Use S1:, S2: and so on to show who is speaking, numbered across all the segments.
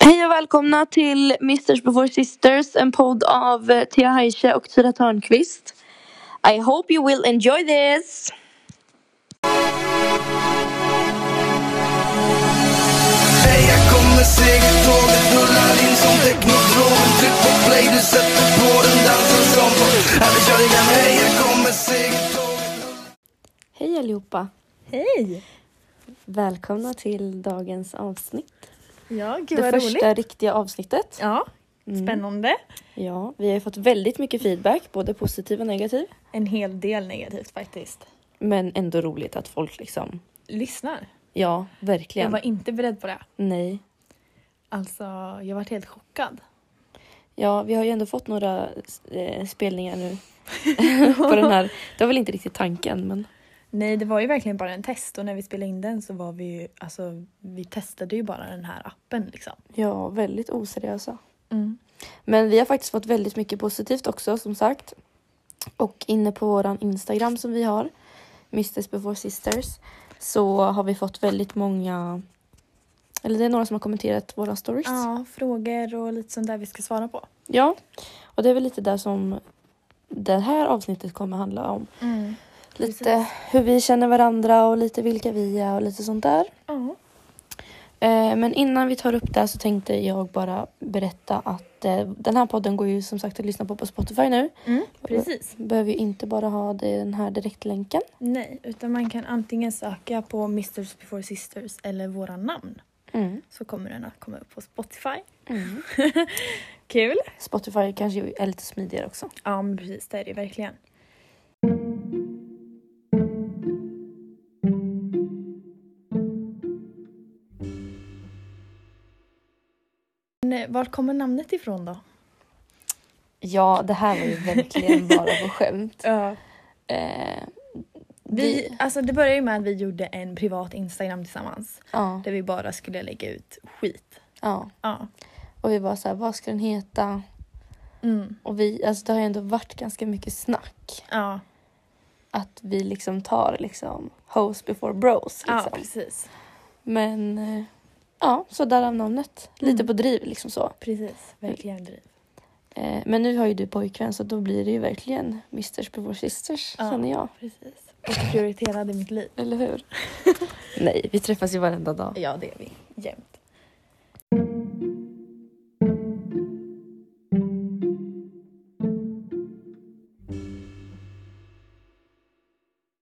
S1: Hej och välkomna till Misters before sisters, en podd av eh, Thea Heise och Tyra Törnqvist. I hope you will enjoy this!
S2: Hej, jag kommer segertåget rullar in som teknodromen Tryck på play, du sätter på den dansen som på Abidjan Hej, jag kommer segertåget
S3: Hej allihopa!
S4: Hej!
S3: Välkomna till dagens avsnitt.
S4: Ja, gud
S3: det
S4: vad
S3: första Mm.
S4: roligt.
S3: riktiga avsnittet.
S4: Ja, spännande.
S3: Ja, vi har ju fått väldigt mycket feedback, både positiv och negativ.
S4: En hel del negativt faktiskt.
S3: Men ändå roligt att folk liksom,
S4: Lyssnar.
S3: ja
S4: Jag
S3: verkligen.
S4: var inte beredd på det.
S3: Nej.
S4: Alltså, jag varit helt chockad.
S3: Ja, vi har ju ändå fått några eh, spelningar nu. på den här. Det var väl inte riktigt tanken, men
S4: Nej, det var ju verkligen bara en test och när vi spelade in den så var vi ju, alltså vi testade ju bara den här appen liksom.
S3: ja, väldigt oseriösa. Mm. Men vi har faktiskt fått väldigt mycket positivt också som sagt. Och inne på våran Instagram som vi har, Misters before sisters, så har vi fått väldigt många, eller det är några som har kommenterat våra stories.
S4: Ja, frågor och lite sånt där vi ska svara på.
S3: Ja, och det är väl lite där som det här avsnittet kommer handla om. Lite hur vi känner varandra och lite vilka vi är och lite sånt där.
S4: Ja.
S3: Eh, Men innan vi tar upp det här så tänkte jag bara berätta att eh, den här podden går ju som sagt att lyssna på på Spotify nu.
S4: Mm, precis.
S3: behöver ju inte bara ha det- den här direktlänken.
S4: Nej, utan man kan antingen söka på Misters before sisters eller våra namn
S3: Mm.
S4: så kommer den att komma upp på Spotify. Kul!
S3: Spotify kanske är lite smidigare också.
S4: Ja, men precis. Det är det verkligen. Men, eh, Var kommer namnet ifrån då?
S3: Ja, det här var ju verkligen bara på skämt.
S4: Ja.
S3: Eh,
S4: Vi, alltså det började ju med att vi gjorde en privat Instagram tillsammans.
S3: ja,
S4: Där vi bara skulle lägga ut skit.
S3: ja.
S4: Ja.
S3: Och vi var så här, vad ska den heta?
S4: Mm.
S3: Och vi, alltså det har ju ändå varit ganska mycket snack.
S4: Ja.
S3: Att vi liksom tar liksom hoes before bros.
S4: ja,
S3: Liksom.
S4: precis.
S3: Men eh, ja, så därav namnet. Lite på driv liksom så.
S4: Precis. Verkligen driv.
S3: Eh, men nu har ju du pojkvän så då blir det ju verkligen misters before sisters
S4: Ja.
S3: känner jag.
S4: Precis. Och prioriterade mitt liv.
S3: Eller hur? Nej, vi träffas ju varenda dag.
S4: Ja, det är vi. Jämt.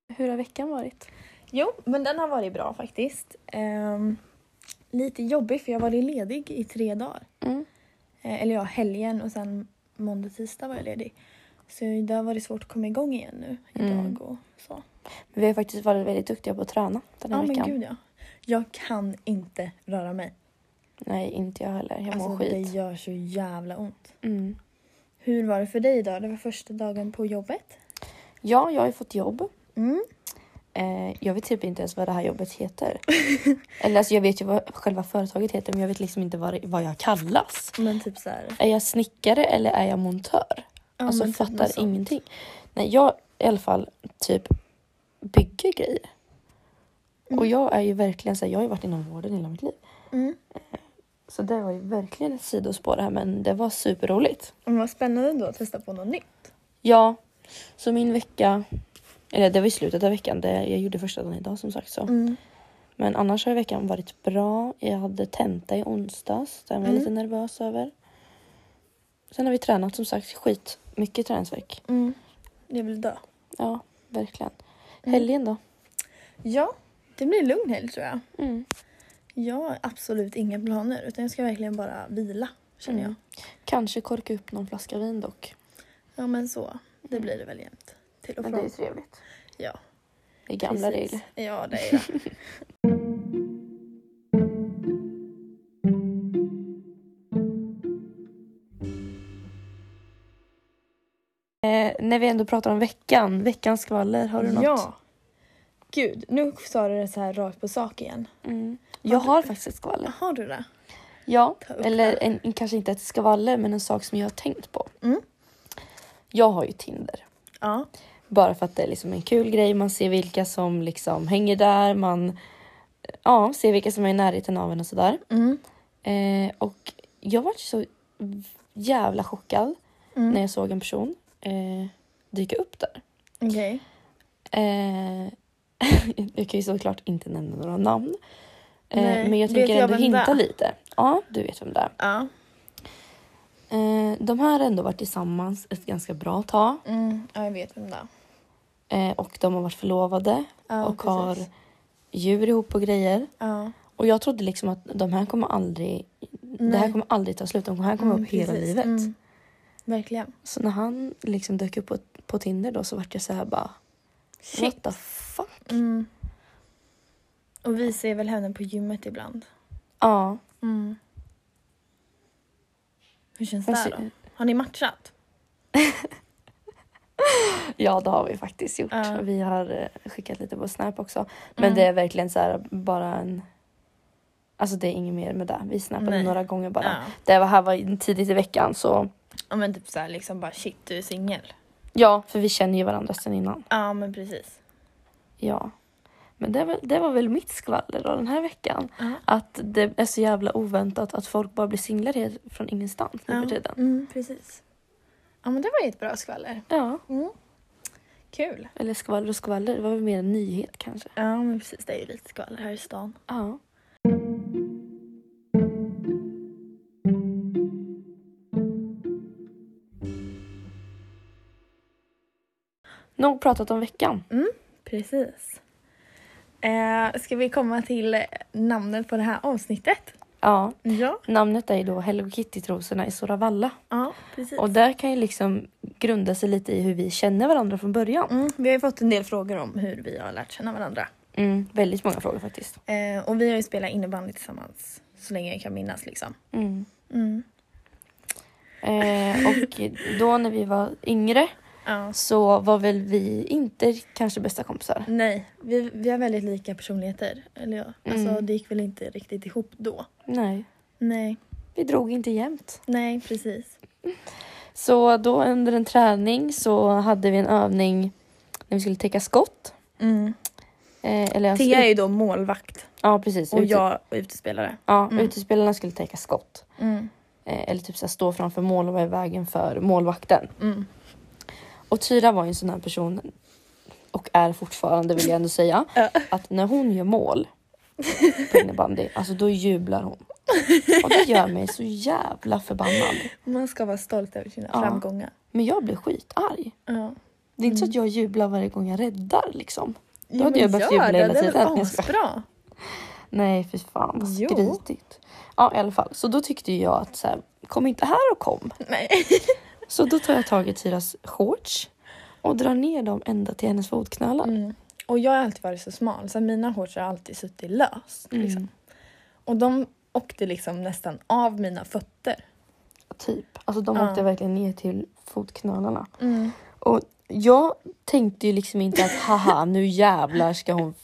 S3: Hur har veckan varit?
S4: Jo, men den har varit bra faktiskt. Ehm, lite jobbig för jag var ju ledig i tre dagar.
S3: Mm.
S4: Eh, eller ja, helgen och sen måndag, tisdag var jag ledig. Så det har varit svårt att komma igång igen nu idag
S3: Mm.
S4: och så.
S3: Vi har ju faktiskt varit väldigt duktiga på att träna den
S4: Ja
S3: här
S4: men
S3: veckan.
S4: gud ja. Jag kan inte röra mig.
S3: Nej, inte jag heller. Jag mår
S4: Alltså det
S3: skit.
S4: gör så jävla ont.
S3: Mm.
S4: Hur var det för dig idag? Det var första dagen på jobbet.
S3: Ja, jag har ju fått jobb.
S4: Mm.
S3: Eh, jag vet typ inte ens vad det här jobbet heter. Eller alltså, jag vet ju vad själva företaget heter men jag vet liksom inte vad, det, vad jag kallas.
S4: Men typ så här.
S3: Är jag snickare eller är jag montör?
S4: Ja,
S3: alltså
S4: men typ något
S3: fattar
S4: sånt.
S3: ingenting. Nej, jag i alla fall typ bygger grejer. Och jag är ju verkligen så här, jag har ju varit inom vården hela mitt liv.
S4: Mm.
S3: Så det var ju verkligen ett sidospår här men det var superroligt.
S4: Men vad spännande då att testa på något nytt.
S3: Ja, så min vecka, eller det var i slutet av veckan, det jag gjorde första dagen idag som sagt så.
S4: Mm.
S3: Men annars har veckan varit bra. Jag hade tenta i onsdags, den
S4: Mm.
S3: var jag lite nervös över. Sen har vi tränat som sagt skit, mycket träningsvärk.
S4: Mm. Jag vill dö.
S3: Ja, verkligen.
S4: Mm.
S3: Helgen då?
S4: Ja, det blir en lugn helg tror jag.
S3: Mm.
S4: Jag har absolut inga planer utan jag ska verkligen bara vila känner
S3: Mm.
S4: jag.
S3: Kanske korka upp någon flaska vin dock.
S4: Ja men så, det blir det väl jämt. Till och
S3: Mm. Men
S4: från.
S3: det är ju trevligt.
S4: Ja,
S3: Det är gamla
S4: precis.
S3: regler.
S4: Ja det är det.
S3: Eh, när vi ändå pratar om veckan, veckans skvaller, har du något?
S4: ja. Gud, nu sa du det så här rakt på sak igen.
S3: Mm. Jag har faktiskt ett skvaller.
S4: Har du det?
S3: Ja,
S4: Ah, Ta upp
S3: eller en, en, kanske inte ett skvaller men en sak som jag har tänkt på.
S4: Mm.
S3: Jag har ju Tinder.
S4: Ja.
S3: Bara för att det är liksom en kul grej, man ser vilka som liksom hänger där, man ja, ser vilka som är i närheten av en och sådär.
S4: Mm.
S3: Eh, och jag var så jävla chockad
S4: Mm.
S3: när jag såg en person eh, dyka upp där.
S4: Okej.
S3: Eh, jag kan ju såklart inte nämna några namn. Eh,
S4: Nej,
S3: men jag
S4: vet
S3: tänker
S4: jag
S3: ändå
S4: vem det
S3: hinta
S4: är?
S3: lite. Ja, du vet vem det är.
S4: Ja.
S3: Eh, de här har ändå varit tillsammans ett ganska bra tag.
S4: Mm. ja, jag vet vem det är.
S3: Eh, och de har varit förlovade
S4: Ja,
S3: och
S4: precis.
S3: har djur ihop och grejer.
S4: Ja.
S3: Och jag trodde liksom att de här kommer aldrig... Det här
S4: Nej.
S3: kommer aldrig ta slut. De här kommer
S4: Mm,
S3: upp hela
S4: precis.
S3: livet.
S4: Mm. Verkligen.
S3: Så när han liksom dök upp på, på Tinder då så vart jag så här bara... What the fuck?
S4: Mm. Och vi ser väl henne på gymmet ibland.
S3: Ja.
S4: Mm. Hur känns
S3: Hon
S4: det här
S3: ser-
S4: då? Har ni matchat?
S3: ja, det har vi faktiskt gjort.
S4: Ja.
S3: Vi har eh, skickat lite på Snap också. Men
S4: Mm.
S3: det är verkligen så här bara en... Alltså det är inget mer med det. Vi snappade
S4: Nej.
S3: några gånger bara.
S4: Ja.
S3: Det var här var tidigt i veckan så...
S4: ja men typ såhär liksom bara shit du är singel.
S3: Ja, för vi känner ju varandra sedan innan.
S4: Ja men precis.
S3: Ja. Men det, var- det var väl mitt skvaller då den här veckan.
S4: Ja.
S3: Att det är så jävla oväntat att folk bara blir singlar helt från ingenstans nu för tiden.
S4: Mm, precis. Ja men det var ju ett bra skvaller.
S3: Ja,
S4: Mm. Kul.
S3: eller skvaller och skvaller. Det var väl mer en nyhet kanske.
S4: Ja men precis det är ju lite skvaller här i stan.
S3: Ja. Nog pratat om veckan.
S4: Precis. Eh, ska vi komma till eh, namnet på det här avsnittet?
S3: Ja,
S4: Ja.
S3: namnet är ju då Hello Kitty-trosorna i Sora Valla.
S4: Ja precis.
S3: Och där kan ju liksom grunda sig lite i hur vi känner varandra från början.
S4: Mm, vi har ju fått en del frågor om hur vi har lärt känna varandra.
S3: Mm, väldigt många frågor faktiskt.
S4: Eh, och vi har ju spelat innebandy tillsammans så länge jag kan minnas liksom.
S3: Mm.
S4: Mm.
S3: Eh, och då när vi var yngre
S4: Ja.
S3: så var väl vi inte kanske bästa kompisar.
S4: Nej, vi, vi har väldigt lika personligheter. Eller ja, alltså
S3: Mm.
S4: det gick väl inte riktigt ihop då.
S3: Nej,
S4: Nej,
S3: vi drog inte jämt.
S4: nej precis.
S3: Så då under en träning så hade vi en övning när vi skulle täcka skott.
S4: Mm.
S3: Eh, eller
S4: Thea är ju då målvakt
S3: Ja, precis.
S4: och
S3: Ute-
S4: jag är utespelare.
S3: ja,
S4: Mm.
S3: Utespelarna skulle täcka skott.
S4: Mm.
S3: Eh, eller typ så här, stå framför mål och vara i vägen för målvakten.
S4: Mm.
S3: Och Tyra var ju en sån här person och är fortfarande vill jag ändå säga.
S4: Ja.
S3: Att när hon gör mål på innebandy, alltså då jublar hon. Och det gör mig så jävla förbannad.
S4: Man ska vara stolt över sina
S3: Ja.
S4: framgångar.
S3: Men jag blir skitarg.
S4: Ja.
S3: Det är inte så att jag jublar varje gång jag räddar liksom. Då hade
S4: Mm. men
S3: jag behövt
S4: gör
S3: jubla
S4: det,
S3: hela
S4: Det
S3: tiden.
S4: är väl asbra?
S3: Nej fy fan vad
S4: Jo.
S3: skrytigt. Ja i alla fall, så då tyckte ju jag att så här, kom inte här och kom.
S4: Nej.
S3: Så då tar jag tag i Tyras shorts och drar ner dem ända till hennes fotknölar.
S4: Mm. Och jag har alltid varit så smal så mina shorts har alltid suttit löst.
S3: Mm.
S4: Liksom. Och de åkte liksom nästan av mina fötter.
S3: Typ. Alltså de
S4: Ja.
S3: åkte verkligen ner till fotknölarna.
S4: Mm.
S3: Och jag tänkte ju liksom inte att haha nu jävlar ska hon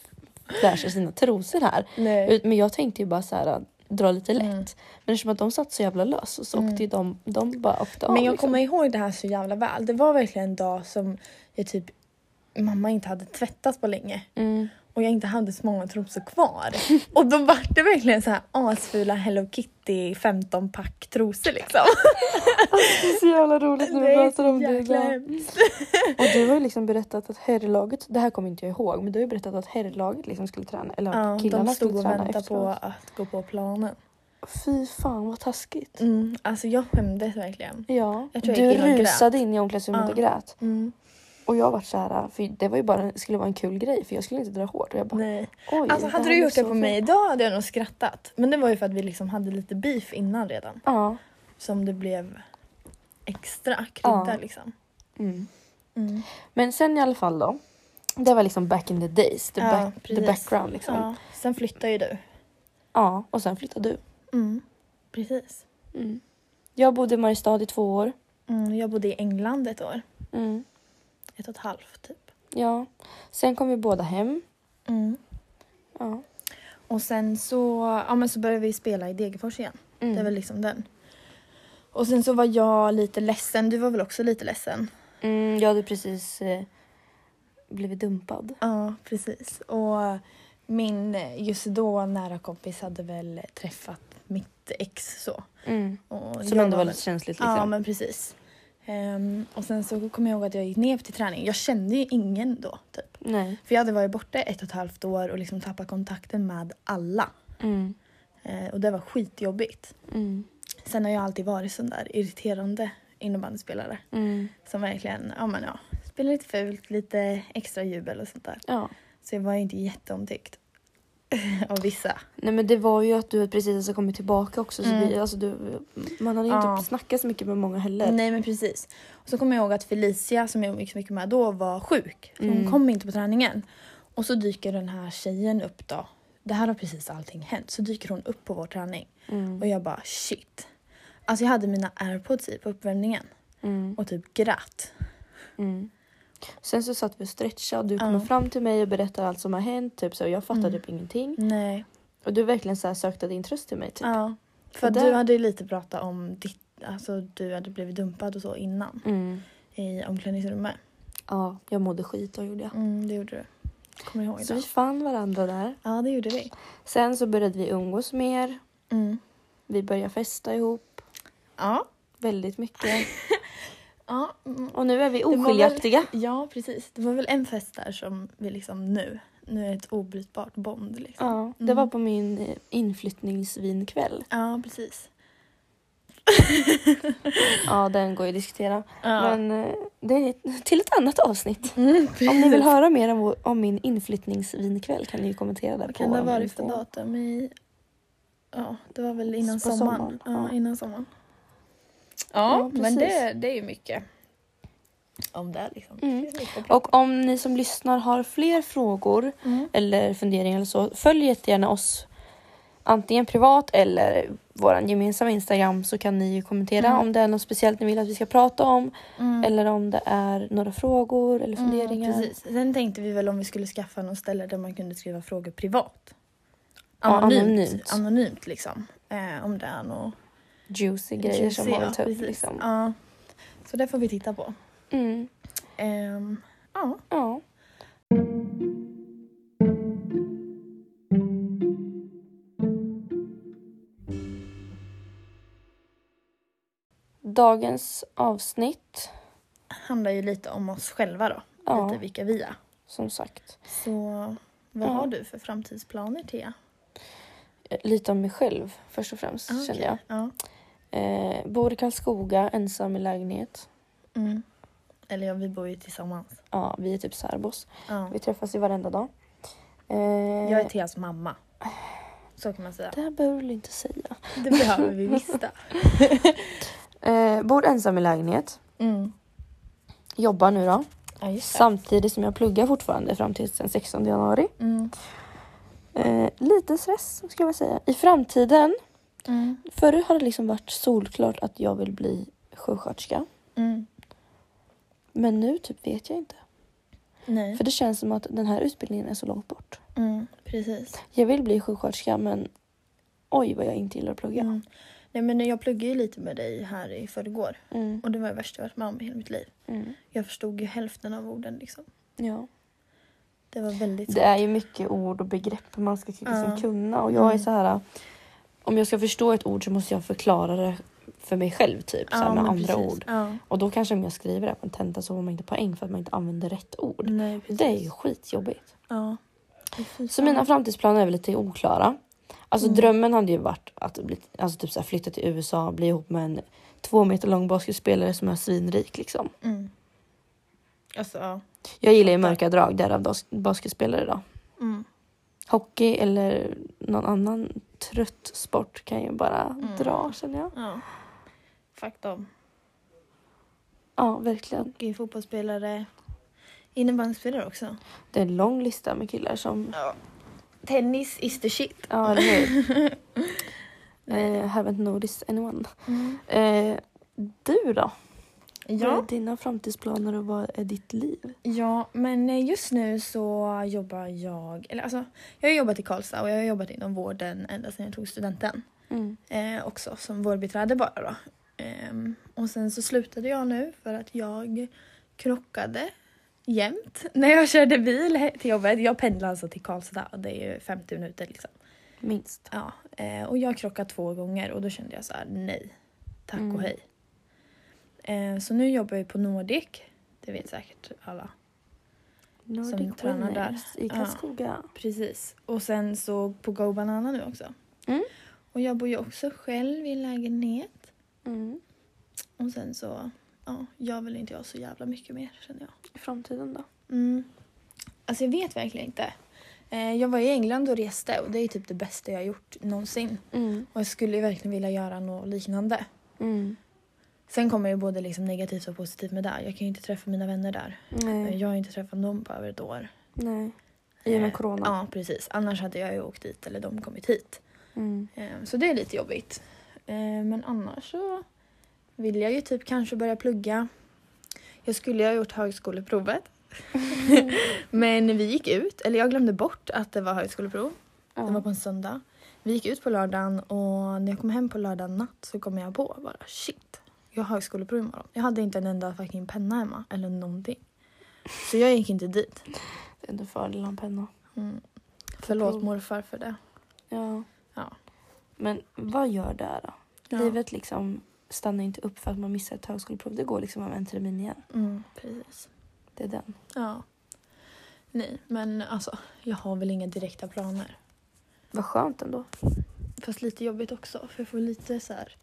S3: flasha sina trosor här.
S4: Nej.
S3: Ut- Men jag tänkte ju bara så här att dra lite lätt.
S4: Mm.
S3: Men eftersom att de satt så jävla lös så åkte ju de, de bara åkte av.
S4: Men jag
S3: liksom.
S4: kommer ihåg det här så jävla väl. Det var verkligen en dag som jag typ mamma inte hade tvättat på länge.
S3: mm.
S4: Och jag inte hade så många trosor kvar. Och då var det verkligen så här asfula Hello Kitty 15-pack trosor liksom.
S3: Det är så jävla roligt när
S4: Det
S3: vi
S4: är
S3: pratar
S4: så
S3: om det
S4: jäkla
S3: idag.
S4: hemskt.
S3: Och du har ju liksom berättat att herrlaget, det här kommer inte jag ihåg, men du har ju berättat att herrlaget liksom skulle träna, eller
S4: Ja,
S3: att killarna
S4: de stod
S3: skulle
S4: och
S3: träna
S4: väntade på
S3: efteråt.
S4: att gå på planen.
S3: Fy fan vad taskigt.
S4: Mm, alltså jag skämdes verkligen.
S3: Ja,
S4: Jag tror jag
S3: du
S4: gick in och grät.
S3: rusade in i omklädningsrummet
S4: Ja.
S3: och grät.
S4: Mm.
S3: Och jag var så här, för det var ju bara, skulle vara en kul grej för jag skulle inte dra hårt. Och jag bara,
S4: Nej.
S3: oj,
S4: Alltså hade
S3: här
S4: du
S3: var
S4: gjort det
S3: så
S4: på
S3: fel.
S4: mig idag hade jag nog skrattat. Men det var ju för att vi liksom hade lite beef innan redan.
S3: Ja.
S4: Som det blev extra krydda
S3: Ja.
S4: liksom.
S3: Mm.
S4: Mm.
S3: Men sen i alla fall då. Det var liksom back in the days, the,
S4: Ja,
S3: back, the
S4: precis.
S3: background liksom. Ja.
S4: Ja. Sen flyttar ju du.
S3: och sen flyttade du.
S4: Mm. Precis.
S3: Mm. Jag bodde i Mariestad i två år.
S4: Mm, jag bodde i England ett år.
S3: Mm.
S4: Ett och ett halvt typ.
S3: Ja. Sen kom vi båda hem.
S4: Mm.
S3: Ja. Mm.
S4: Och sen så, ja, men så började vi spela i Degerfors igen. Det är väl liksom den. Och sen så var jag lite ledsen. Du var väl också lite ledsen?
S3: Mm, jag hade precis eh, blivit dumpad.
S4: Ja, precis. Och min eh, just då nära kompis hade väl träffat mitt ex och
S3: Som
S4: jag
S3: ändå var
S4: med-
S3: lite känsligt liksom.
S4: Ja, men precis. Ehm, och sen så kommer jag ihåg att jag gick ner till träning. Jag kände ju ingen då, typ.
S3: Nej.
S4: För jag hade varit borta ett och ett halvt år och liksom tappat kontakten med alla.
S3: Mm.
S4: Eh, och det var skitjobbigt.
S3: Mm.
S4: Sen har jag alltid varit sån där irriterande innebandyspelare.
S3: Mm.
S4: Som verkligen, ja men ja, spelar lite fult, lite extra jubel och sånt där.
S3: Ja.
S4: Så jag var ju inte jätteomtyckt av vissa.
S3: Nej men det var ju att du precis alltså kommit tillbaka också. Så
S4: Mm.
S3: vi, alltså, du, man hade ju
S4: Ja.
S3: inte snackat så mycket med många heller.
S4: Nej men precis. Och så kommer jag ihåg att Felicia som jag umgicks mycket med då var sjuk. Så
S3: Mm.
S4: Hon kom inte på träningen. Och så dyker den här tjejen upp då. Det här har precis allting hänt. Så dyker hon upp på vår träning.
S3: Mm.
S4: Och jag bara shit. Alltså jag hade mina airpods i på uppvärmningen.
S3: Mm.
S4: Och typ grät.
S3: Mm. Sen så satt vi och stretchade och du
S4: Ja.
S3: kommer fram till mig och berättar allt som har hänt. Typ, så, och jag fattar
S4: Mm.
S3: typ ingenting.
S4: Nej.
S3: Och du verkligen så här sökte din tröst till mig. Typ.
S4: Ja.
S3: Så
S4: För att
S3: där-
S4: du hade ju lite pratat om ditt, alltså du hade blivit dumpad och så innan.
S3: Mm.
S4: I omklädningsrummet.
S3: Ja, jag mådde skit och gjorde jag.
S4: Mm, det gjorde du. Kommer ihåg
S3: Så
S4: det?
S3: vi fann varandra där.
S4: Ja, det gjorde vi.
S3: Sen så började vi umgås mer.
S4: Mm.
S3: Vi började festa ihop
S4: Ja.
S3: väldigt mycket.
S4: Ja, mm.
S3: Och nu är vi
S4: var väl-
S3: oskiljaktiga.
S4: ja, precis. Det var väl en fest där som vi liksom nu, nu är ett obrytbart bond liksom.
S3: Ja, det
S4: Mm.
S3: var på min eh, inflyttningsvinkväll.
S4: Ja, precis.
S3: Ja, den går ju att diskutera.
S4: Ja.
S3: Men eh, det är till ett annat avsnitt.
S4: Mm, precis.
S3: Om ni vill höra mer om, vår- om min inflyttningsvinkväll kan ni ju kommentera där
S4: Vad
S3: på
S4: kan det ha
S3: vår
S4: varit för
S3: Instagram.
S4: datum i... Ja, det var väl innan
S3: På
S4: sommaren.
S3: sommaren,
S4: Ja,
S3: ja.
S4: innan sommaren.
S3: Ja, precis.
S4: det är ju mycket. Om det liksom.
S3: Mm.
S4: Det är mycket att prata
S3: Och om ni som lyssnar har fler frågor
S4: om. Mm.
S3: eller funderingar eller så, följ jättegärna oss antingen privat eller vår gemensamma Instagram så kan ni ju kommentera
S4: Mm.
S3: om det är något speciellt ni vill att vi ska prata om
S4: Mm.
S3: eller om det är några frågor eller funderingar.
S4: Mm, precis. Sen tänkte vi väl om vi skulle skaffa något ställe där man kunde skriva frågor privat.
S3: Ja,
S4: Anonymt.
S3: anonymt.
S4: anonymt. liksom. Eh, om det är något.
S3: Juicy grejer som
S4: Juicy,
S3: man vill
S4: ja,
S3: ta upp.
S4: precis.
S3: Liksom.
S4: Ja. Så det får vi titta på.
S3: Mm.
S4: Ehm, ja.
S3: Ja. Dagens avsnitt,
S4: Handlar ju lite om oss själva då.
S3: Ja.
S4: Lite vilka vi är.
S3: som sagt,
S4: Så vad
S3: Ja.
S4: har du för framtidsplaner Tia?
S3: eh, lite om mig själv först och främst
S4: Ah,
S3: kände
S4: okej.
S3: jag.
S4: Ja.
S3: Eh, bor i Karlskoga, ensam i lägenhet.
S4: Mm. Eller ja, vi bor ju tillsammans.
S3: Ja, vi är typ särbos.
S4: Ja.
S3: Vi träffas ju varenda dag. Eh,
S4: Jag är Tias mamma. Så kan man säga.
S3: det här behöver du inte säga.
S4: Det behöver vi visst. det.
S3: Eh, bor ensam i lägenhet.
S4: Mm.
S3: Jobbar nu då.
S4: Ja, just det.
S3: Samtidigt som jag pluggar fortfarande fram till den 16 januari.
S4: Mm.
S3: Eh, lite stress ska jag säga. I framtiden,
S4: Mm.
S3: förut har det liksom varit solklart att jag vill bli sjuksköterska.
S4: Mm.
S3: Men nu typ vet jag inte.
S4: Nej.
S3: För det känns som att den här utbildningen är så långt bort.
S4: Mm. Precis.
S3: Jag vill bli sjuksköterska men oj vad jag inte gillar att plugga.
S4: Mm. Nej, men jag pluggade ju lite med dig här i förrgår.
S3: Mm.
S4: Och det var det värsta jag varit med om i hela mitt liv.
S3: Mm.
S4: Jag förstod ju hälften av orden liksom.
S3: Ja.
S4: Det var väldigt
S3: Det är ju mycket ord och begrepp man ska liksom
S4: Ja.
S3: kunna och jag är
S4: Mm.
S3: så här. Om jag ska förstå ett ord så måste jag förklara det för mig själv typ så här, med
S4: men
S3: andra
S4: precis.
S3: ord.
S4: Ja.
S3: Och då kanske om jag skriver det på en tenta så får man inte poäng för att man inte använder rätt ord.
S4: Nej, precis.
S3: Det är ju skitjobbigt.
S4: Ja. Fy fan.
S3: Så mina framtidsplaner är väl lite oklara. Alltså
S4: Mm.
S3: drömmen hade ju varit att bli, alltså typ så här, flytta till USA och bli ihop med en två meter lång basketspelare som är svinrik liksom.
S4: Mm. Alltså, ja.
S3: Jag gillar ju mörka drag, därav bas- basketspelare då.
S4: Mm.
S3: Hockey eller någon annan trött sport kan ju bara
S4: Mm.
S3: dra känner jag.
S4: ja. Fuck dem.
S3: Ja, verkligen.
S4: Hockey, fotbollsspelare. Innebandyspelare också.
S3: Det är en lång lista med killar som...
S4: Ja. Tennis is the shit.
S3: Ja, eller hur? Eh, haven't noticed anyone.
S4: Mm.
S3: Eh, du då? Vad är
S4: Ja.
S3: dina framtidsplaner och vad är ditt liv?
S4: ja, men eh, just nu så jobbar jag... Eller alltså, jag har jobbat i Karlstad och jag har jobbat inom vården ända sedan jag tog studenten. eh, också som vårdbiträde bara då. Ehm, och sen så slutade jag nu för att jag krockade jämt när jag körde bil he- till jobbet. Jag pendlar alltså till Karlstad och det är ju 50 minuter liksom.
S3: Minst.
S4: Ja, eh, och jag krockade två gånger och då kände jag så här: nej tack och hej. Eh, så nu jobbar jag på Nordic. Det vet säkert alla.
S3: Nordic
S4: Som tränar där.
S3: Winners i
S4: Ja.
S3: Karlskoga.
S4: Precis. Och sen så på Go Banana nu också.
S3: Mm.
S4: Och jag bor ju också själv i lägenhet.
S3: Mm.
S4: Och sen så, ja, jag vill inte jag så jävla mycket mer känner jag.
S3: I framtiden då?
S4: Mm. Alltså jag vet verkligen inte. Eh, jag var i England och reste och det är typ det bästa jag har gjort någonsin.
S3: Mm.
S4: Och jag skulle ju verkligen vilja göra något liknande.
S3: Mm.
S4: Sen kommer ju både liksom negativt och positivt med där. Jag kan ju inte träffa mina vänner där.
S3: Nej.
S4: Eh, Jag har ju inte träffat dem på över ett år.
S3: Nej. I och med
S4: Eh,
S3: corona.
S4: Ja, precis. Annars hade jag ju åkt dit eller de kommit hit.
S3: Mm.
S4: Eh, Så det är lite jobbigt. Eh, Men annars så vill jag ju typ kanske börja plugga. Jag skulle ju ha gjort högskoleprovet. Men vi gick ut, eller jag glömde bort att det var högskoleprov.
S3: Ja.
S4: Det var på en söndag. Vi gick ut på lördagen och när jag kom hem på lördag natt så kom jag på bara shit, jag har högskoleprov imorgon. Jag hade inte en enda fucking penna hemma eller någonting. Så jag gick inte dit.
S3: Det är ändå fördel att ha en penna.
S4: Mm. Förlåt
S3: Prov.
S4: morfar för det.
S3: Ja.
S4: Ja.
S3: Men vad gör det här då?
S4: Ja.
S3: Livet liksom stannar inte upp för att man missar ett högskoleprov. Det går liksom av en termin igen.
S4: Mm, precis.
S3: Det är den.
S4: Ja. Nej, men alltså jag har väl inga direkta planer.
S3: Vad skönt ändå.
S4: Fast lite jobbigt också för jag får lite så här.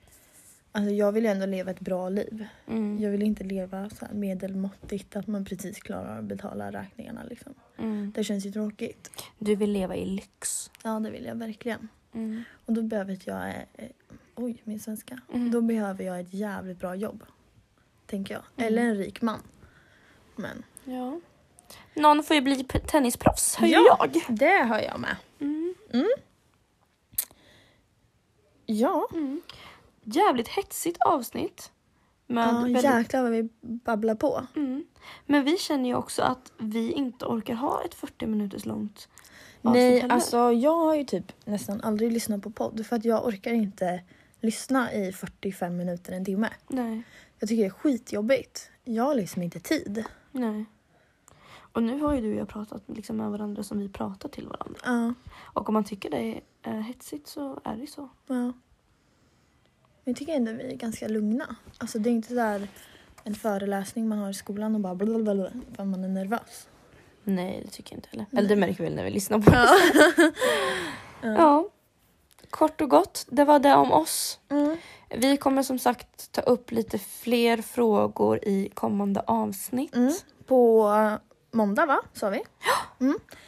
S4: Alltså jag vill ju ändå leva ett bra liv.
S3: Mm.
S4: Jag vill inte leva så här medelmåttigt att man precis klarar att betala räkningarna liksom.
S3: Mm.
S4: Det känns ju tråkigt.
S3: Du vill leva i lyx.
S4: Ja, det vill jag verkligen.
S3: Mm.
S4: Och då behöver jag, eh, eh, oj min svenska.
S3: Mm.
S4: Då behöver jag ett jävligt bra jobb. Tänker jag. Eller en rik man. Men
S3: Ja. Någon får ju bli p- tennisproffs, hör ju
S4: Ja.
S3: jag.
S4: det hör jag med.
S3: Mm.
S4: Ja.
S3: mm. Jävligt hetsigt avsnitt. Men,
S4: Ja,
S3: väldigt-
S4: jäklar vad vi babblar på.
S3: mm. men vi känner ju också att vi inte orkar ha ett 40 minuters långt
S4: Nej,
S3: heller.
S4: alltså jag har ju typ nästan aldrig lyssnat på podd för att jag orkar inte lyssna i 45 minuter, en timme.
S3: Nej,
S4: Jag tycker det är skitjobbigt. Jag har liksom inte tid.
S3: nej. Och nu har ju du och jag pratat liksom med varandra som vi pratar till varandra.
S4: Ja,
S3: Och om man tycker det är eh, hetsigt så är det ju så.
S4: ja. Men jag tycker ändå vi är ganska lugna. Alltså det är inte där en föreläsning man har i skolan och bara blablabla för man är nervös.
S3: Nej, det tycker jag inte heller. Eller det märker vi väl när vi lyssnar på det. ja. Kort och gott, det var det om oss.
S4: Mm.
S3: Vi kommer som sagt ta upp lite fler frågor i kommande avsnitt.
S4: Mm. På eh, måndag va, sa vi?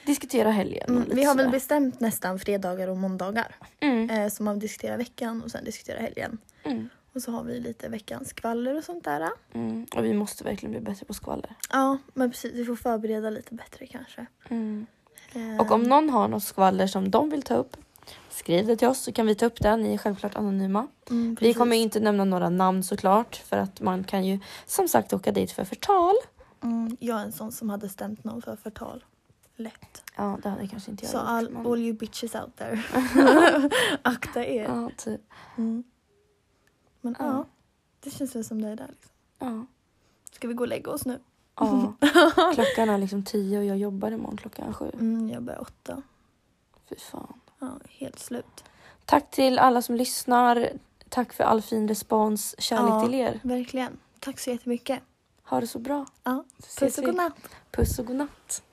S3: Diskutera helgen. och
S4: Mm.
S3: lite
S4: Vi har väl
S3: sådär.
S4: bestämt nästan fredagar och måndagar.
S3: mm.
S4: Eh, så man diskuterar veckan och sen diskuterar helgen.
S3: Mm.
S4: Och så har vi lite veckans skvaller och sånt där.
S3: Mm. Och vi måste verkligen bli bättre på skvaller.
S4: Ja, men precis. Vi får förbereda lite bättre kanske.
S3: Mm.
S4: Eh,
S3: Och om någon har något skvaller som de vill ta upp, skriv det till oss så kan vi ta upp det. Ni är självklart anonyma.
S4: mm,
S3: Vi
S4: precis.
S3: kommer inte nämna några namn såklart för att man kan ju som sagt åka dit för förtal.
S4: Mm, jag är en sån som hade stämt någon för förtal. Lätt.
S3: Ja, det hade kanske inte jag
S4: Så
S3: gjort,
S4: all,
S3: men-
S4: all you bitches out there. Akta er.
S3: ja, typ.
S4: Mm. Men ja.
S3: Ja.
S4: det känns väl som det är där. Liksom.
S3: ja.
S4: Ska vi gå och lägga oss nu?
S3: ja. Klockan är liksom tio och jag jobbar imorgon klockan sju.
S4: Mm, jag börjar åtta.
S3: Fy fan.
S4: Ja, helt slut.
S3: Tack till alla som lyssnar. Tack för all fin respons. Kärlek
S4: Ja.
S3: till er.
S4: Verkligen. Tack så jättemycket.
S3: Ha det så bra.
S4: Ja,
S3: Så ses
S4: puss och
S3: vi.
S4: godnatt.
S3: Puss och godnatt.